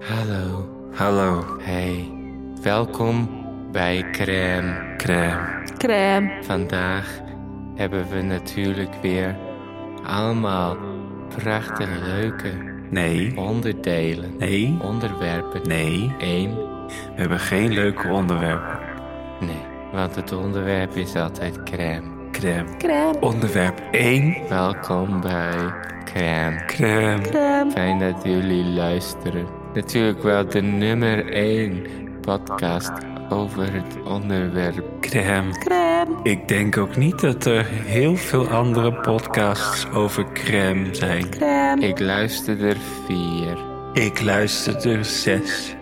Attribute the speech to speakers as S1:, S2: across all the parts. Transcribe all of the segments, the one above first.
S1: Hallo.
S2: Hallo,
S1: Hey. Welkom bij Crème.
S2: crème.
S3: Crème.
S1: Vandaag hebben we natuurlijk weer allemaal prachtig leuke
S2: Nee,
S1: onderdelen,
S2: nee,
S1: onderwerpen.
S2: nee.
S1: Eén?
S2: We hebben geen leuke onderwerpen.
S1: Nee, want het onderwerp is altijd crème.
S2: Crème.
S3: Crème.
S2: Onderwerp 1.
S1: Welkom bij Crème.
S2: Crème.
S3: Crème.
S1: Fijn dat jullie luisteren. Natuurlijk wel de nummer 1 podcast over het onderwerp.
S2: Crème.
S3: Crème.
S2: Ik denk ook niet dat er heel veel andere podcasts over crème zijn.
S3: Crème.
S1: Ik luister er vier.
S2: Ik luister er zes.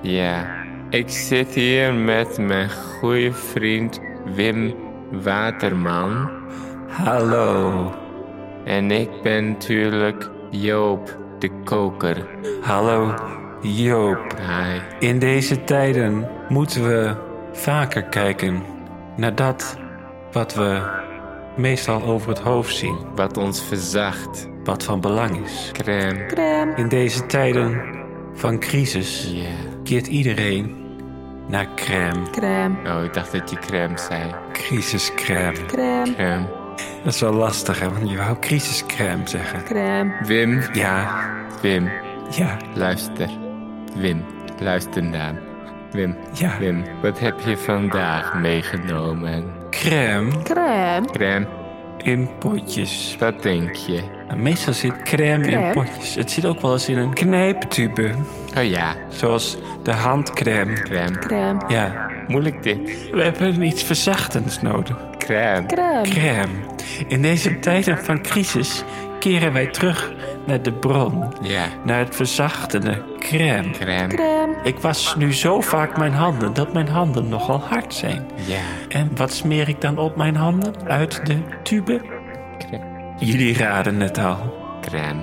S1: Ja, ik zit hier met mijn goede vriend Wim Waterman.
S2: Hallo.
S1: En ik ben natuurlijk Joop de Koker.
S2: Hallo, Joop.
S1: Hi.
S2: In deze tijden moeten we vaker kijken naar dat wat we meestal over het hoofd zien,
S1: Wat ons verzacht.
S2: wat van belang is.
S1: Crème.
S3: Crème.
S2: In deze tijden van crisis
S1: Ja.
S2: keert iedereen naar crème.
S3: Crème.
S1: Oh, ik dacht dat je crème zei.
S2: Crisiscrème.
S3: Crème.
S1: Crème.
S2: Dat is wel lastig, hè, want je wou crisiscrème zeggen.
S3: Crème.
S1: Wim.
S2: Ja,
S1: Wim.
S2: ja,
S1: Luister. Wim. Luister naar. Wim.
S2: Ja.
S1: Wim. Wat heb je vandaag meegenomen?
S2: crème
S3: Crème.
S1: Crème.
S2: in potjes.
S1: Wat denk je?
S2: En meestal zit crème in
S3: Crème?
S2: potjes. Het zit ook wel eens in een knijptube,
S1: Oh ja.
S2: zoals de handcrème.
S1: Crème.
S3: Crème.
S2: Ja,
S1: Moeilijk dit.
S2: we hebben iets verzachtends nodig.
S1: Crème.
S3: Crème.
S2: Crème. In deze tijden van crisis keren wij terug naar de bron,
S1: Ja,
S2: naar het verzachtende crème.
S1: crème.
S3: Crème.
S2: Ik was nu zo vaak mijn handen dat mijn handen nogal hard zijn.
S1: Ja,
S2: En wat smeer ik dan op mijn handen? Uit de tube?
S1: crème.
S2: Jullie raden het al.
S1: crème.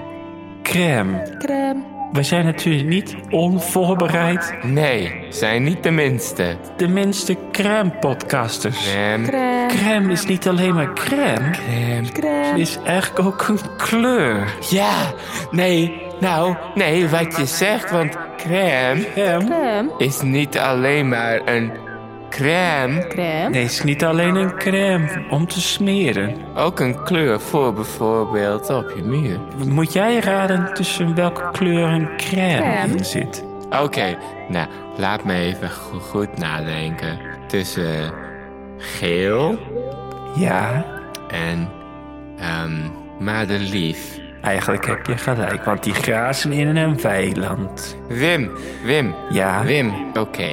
S2: Crème.
S3: Crème.
S2: We zijn natuurlijk niet onvoorbereid.
S1: Nee, zijn niet de minste.
S2: De minste crème-podcasters.
S1: Crème.
S3: Crème.
S2: Crème is niet alleen maar crème.
S1: Crème.
S2: Het
S3: Crème.
S2: is eigenlijk ook een kleur.
S1: Ja, nee, nou, nee, wat je zegt, want crème
S2: Crème.
S3: Crème.
S1: is niet alleen maar een crème,
S3: Crème.
S2: Nee, het is niet alleen een crème om te smeren.
S1: ook een kleur voor bijvoorbeeld op je muur.
S2: Moet jij raden tussen welke kleur een crème
S3: Crème.
S2: in zit?
S1: Oké, nou, laat me even go- goed nadenken. Tussen geel
S2: Ja,
S1: en ehm madelief.
S2: eigenlijk heb je gelijk, want die grazen in een weiland.
S1: Wim, Wim,
S2: Ja,
S1: Wim, oké.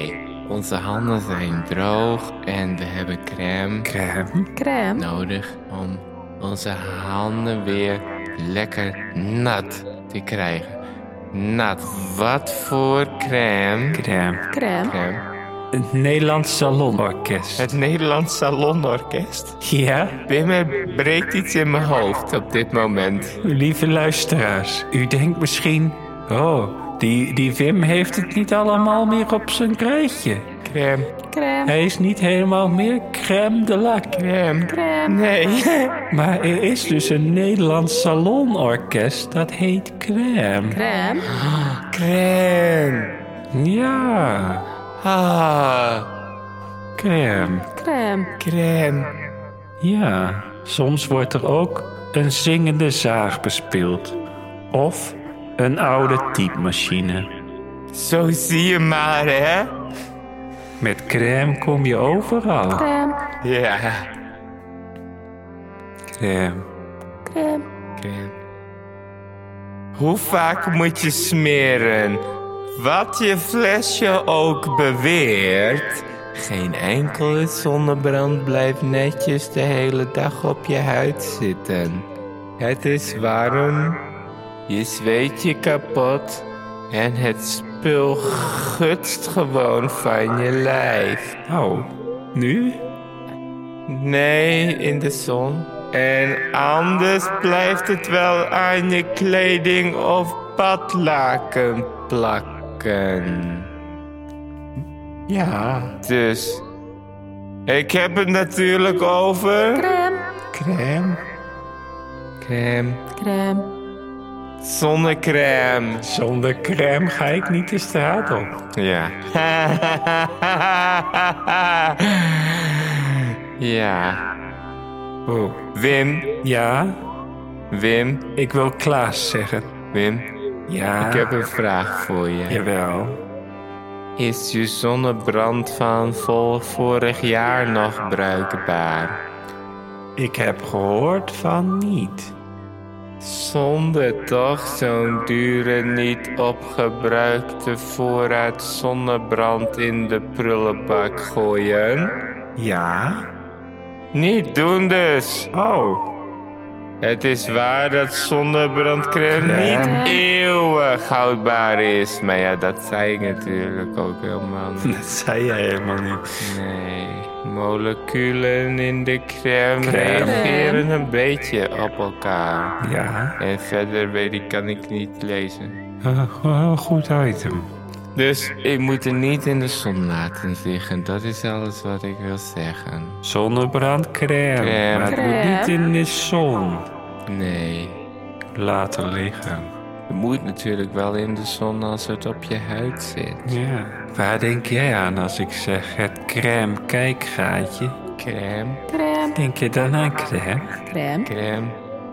S1: Onze handen zijn droog en we hebben crème
S2: crème.
S3: Crème.
S1: nodig om onze handen weer lekker nat te krijgen. Nat, wat voor crème?
S2: Crème.
S3: Crème.
S1: crème.
S2: Het Nederlands Salonorkest.
S1: Het Nederlands Salonorkest.
S2: Ja,
S1: Wim, er breekt iets in mijn hoofd op dit moment.
S2: lieve luisteraars. U denkt misschien, oh, die, die Wim heeft het niet allemaal meer op zijn rijtje.
S1: Crème,
S3: Crème.
S2: Hij is niet helemaal meer crème de la
S1: crème.
S2: crème.
S3: Crème.
S1: Nee.
S2: Maar er is dus een Nederlands salonorkest dat heet Crème.
S3: Crème.
S1: Crème.
S2: Ja,
S1: Ah,
S2: Crème.
S3: Crème.
S1: crème.
S2: Ja, soms wordt er ook een zingende zaag bespeeld. Of een oude typemachine.
S1: Zo zie je maar, hè?
S2: Met crème kom je overal.
S3: Crème.
S1: Ja.
S2: Crème.
S3: Crème.
S1: Oké. Hoe vaak moet je smeren? Wat je flesje ook beweert. Geen enkele zonnebrand blijft netjes de hele dag op je huid zitten. Het is warm, je zweet je kapot en het spul gutst gewoon van je lijf.
S2: Oh, nu?
S1: Nee, in de zon. En anders blijft het wel aan je kleding of badlaken plakken.
S2: Ja.
S1: Dus. Ik heb het natuurlijk over.
S3: Crème.
S1: Crème. Crème.
S3: Crème.
S1: Zonnecrème.
S2: Zonder crème ga ik niet de straat op.
S1: Ja. ja.
S2: Oh.
S1: Wim,
S2: Ja,
S1: Wim,
S2: ik wil Klaas zeggen.
S1: Wim.
S2: Ja,
S1: Ik heb een vraag voor je.
S2: jawel.
S1: Is je zonnebrand van vol vorig jaar nog bruikbaar?
S2: Ik heb gehoord van niet.
S1: Zonde toch zo'n dure, niet opgebruikte voorraad zonnebrand in de prullenbak gooien?
S2: Ja?
S1: Niet doen dus!
S2: Oh,
S1: Het is waar dat zonnebrandcrème
S2: Ja.
S1: niet eeuwig houdbaar is. Maar ja, dat zei ik natuurlijk ook helemaal niet.
S2: dat zei jij helemaal niet.
S1: Nee, moleculen in de crème
S2: Crème.
S1: reageren een beetje op elkaar.
S2: Ja,
S1: En verder weet ik, kan ik niet lezen.
S2: eh, wel een goed item.
S1: Dus ik moet er niet in de zon laten liggen. Dat is alles wat ik wil zeggen.
S2: Zonnebrandcrème.
S1: Crème.
S2: Maar het
S3: Crème.
S2: moet niet in de zon
S1: Nee.
S2: laten liggen.
S1: Het moet natuurlijk wel in de zon als het op je huid zit.
S2: Ja. Waar denk jij aan als ik zeg het crème kijkgaatje?
S1: Crème,
S3: crème,
S2: Denk je dan aan crème?
S3: crème,
S1: crème,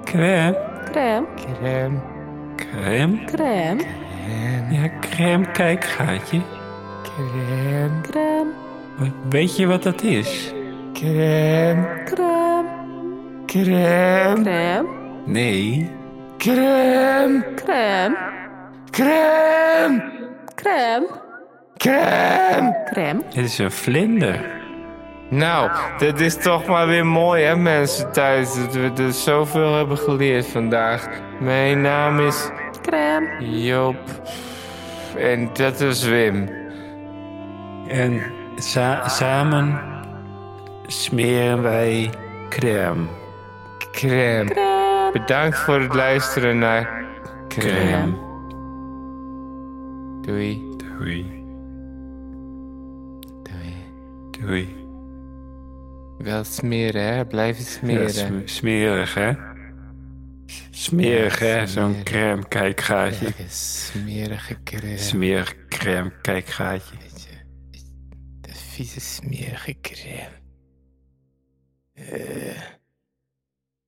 S2: Crème?
S3: crème,
S1: crème.
S2: Crème?
S3: crème,
S2: Ja, crème kijkgaatje.
S1: Crème,
S3: crème,
S2: Weet je wat dat is?
S1: crème,
S3: crème,
S1: crème,
S3: crème,
S2: Nee.
S1: crème,
S3: crème,
S1: crème,
S3: crème,
S1: crème.
S3: crème.
S2: Het is een vlinder.
S1: Nou, dat is toch maar weer mooi hè mensen thuis, dat we er zoveel hebben geleerd vandaag. Mijn naam is
S3: crème.
S1: Joop en dat is Wim.
S2: En sa- samen smeren wij crème.
S1: Crème. Bedankt voor het luisteren naar Crème. Doei.
S2: Doei.
S1: Doei.
S2: Doei.
S1: Wel smeren hè, blijven
S2: Ja,
S1: smeren.
S2: sm- smerig, hè? Smerig, hè? Zo'n
S1: Smerig.
S2: crème kijkgaatje.
S1: Lekker Smerige crème.
S2: Smerig crème kijkgaatje.
S1: Weet je, de vieze smerige crème. Eh,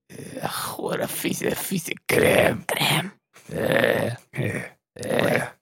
S1: eh, gore, vieze, vieze crème. Crème.
S2: Eh.
S1: Eh.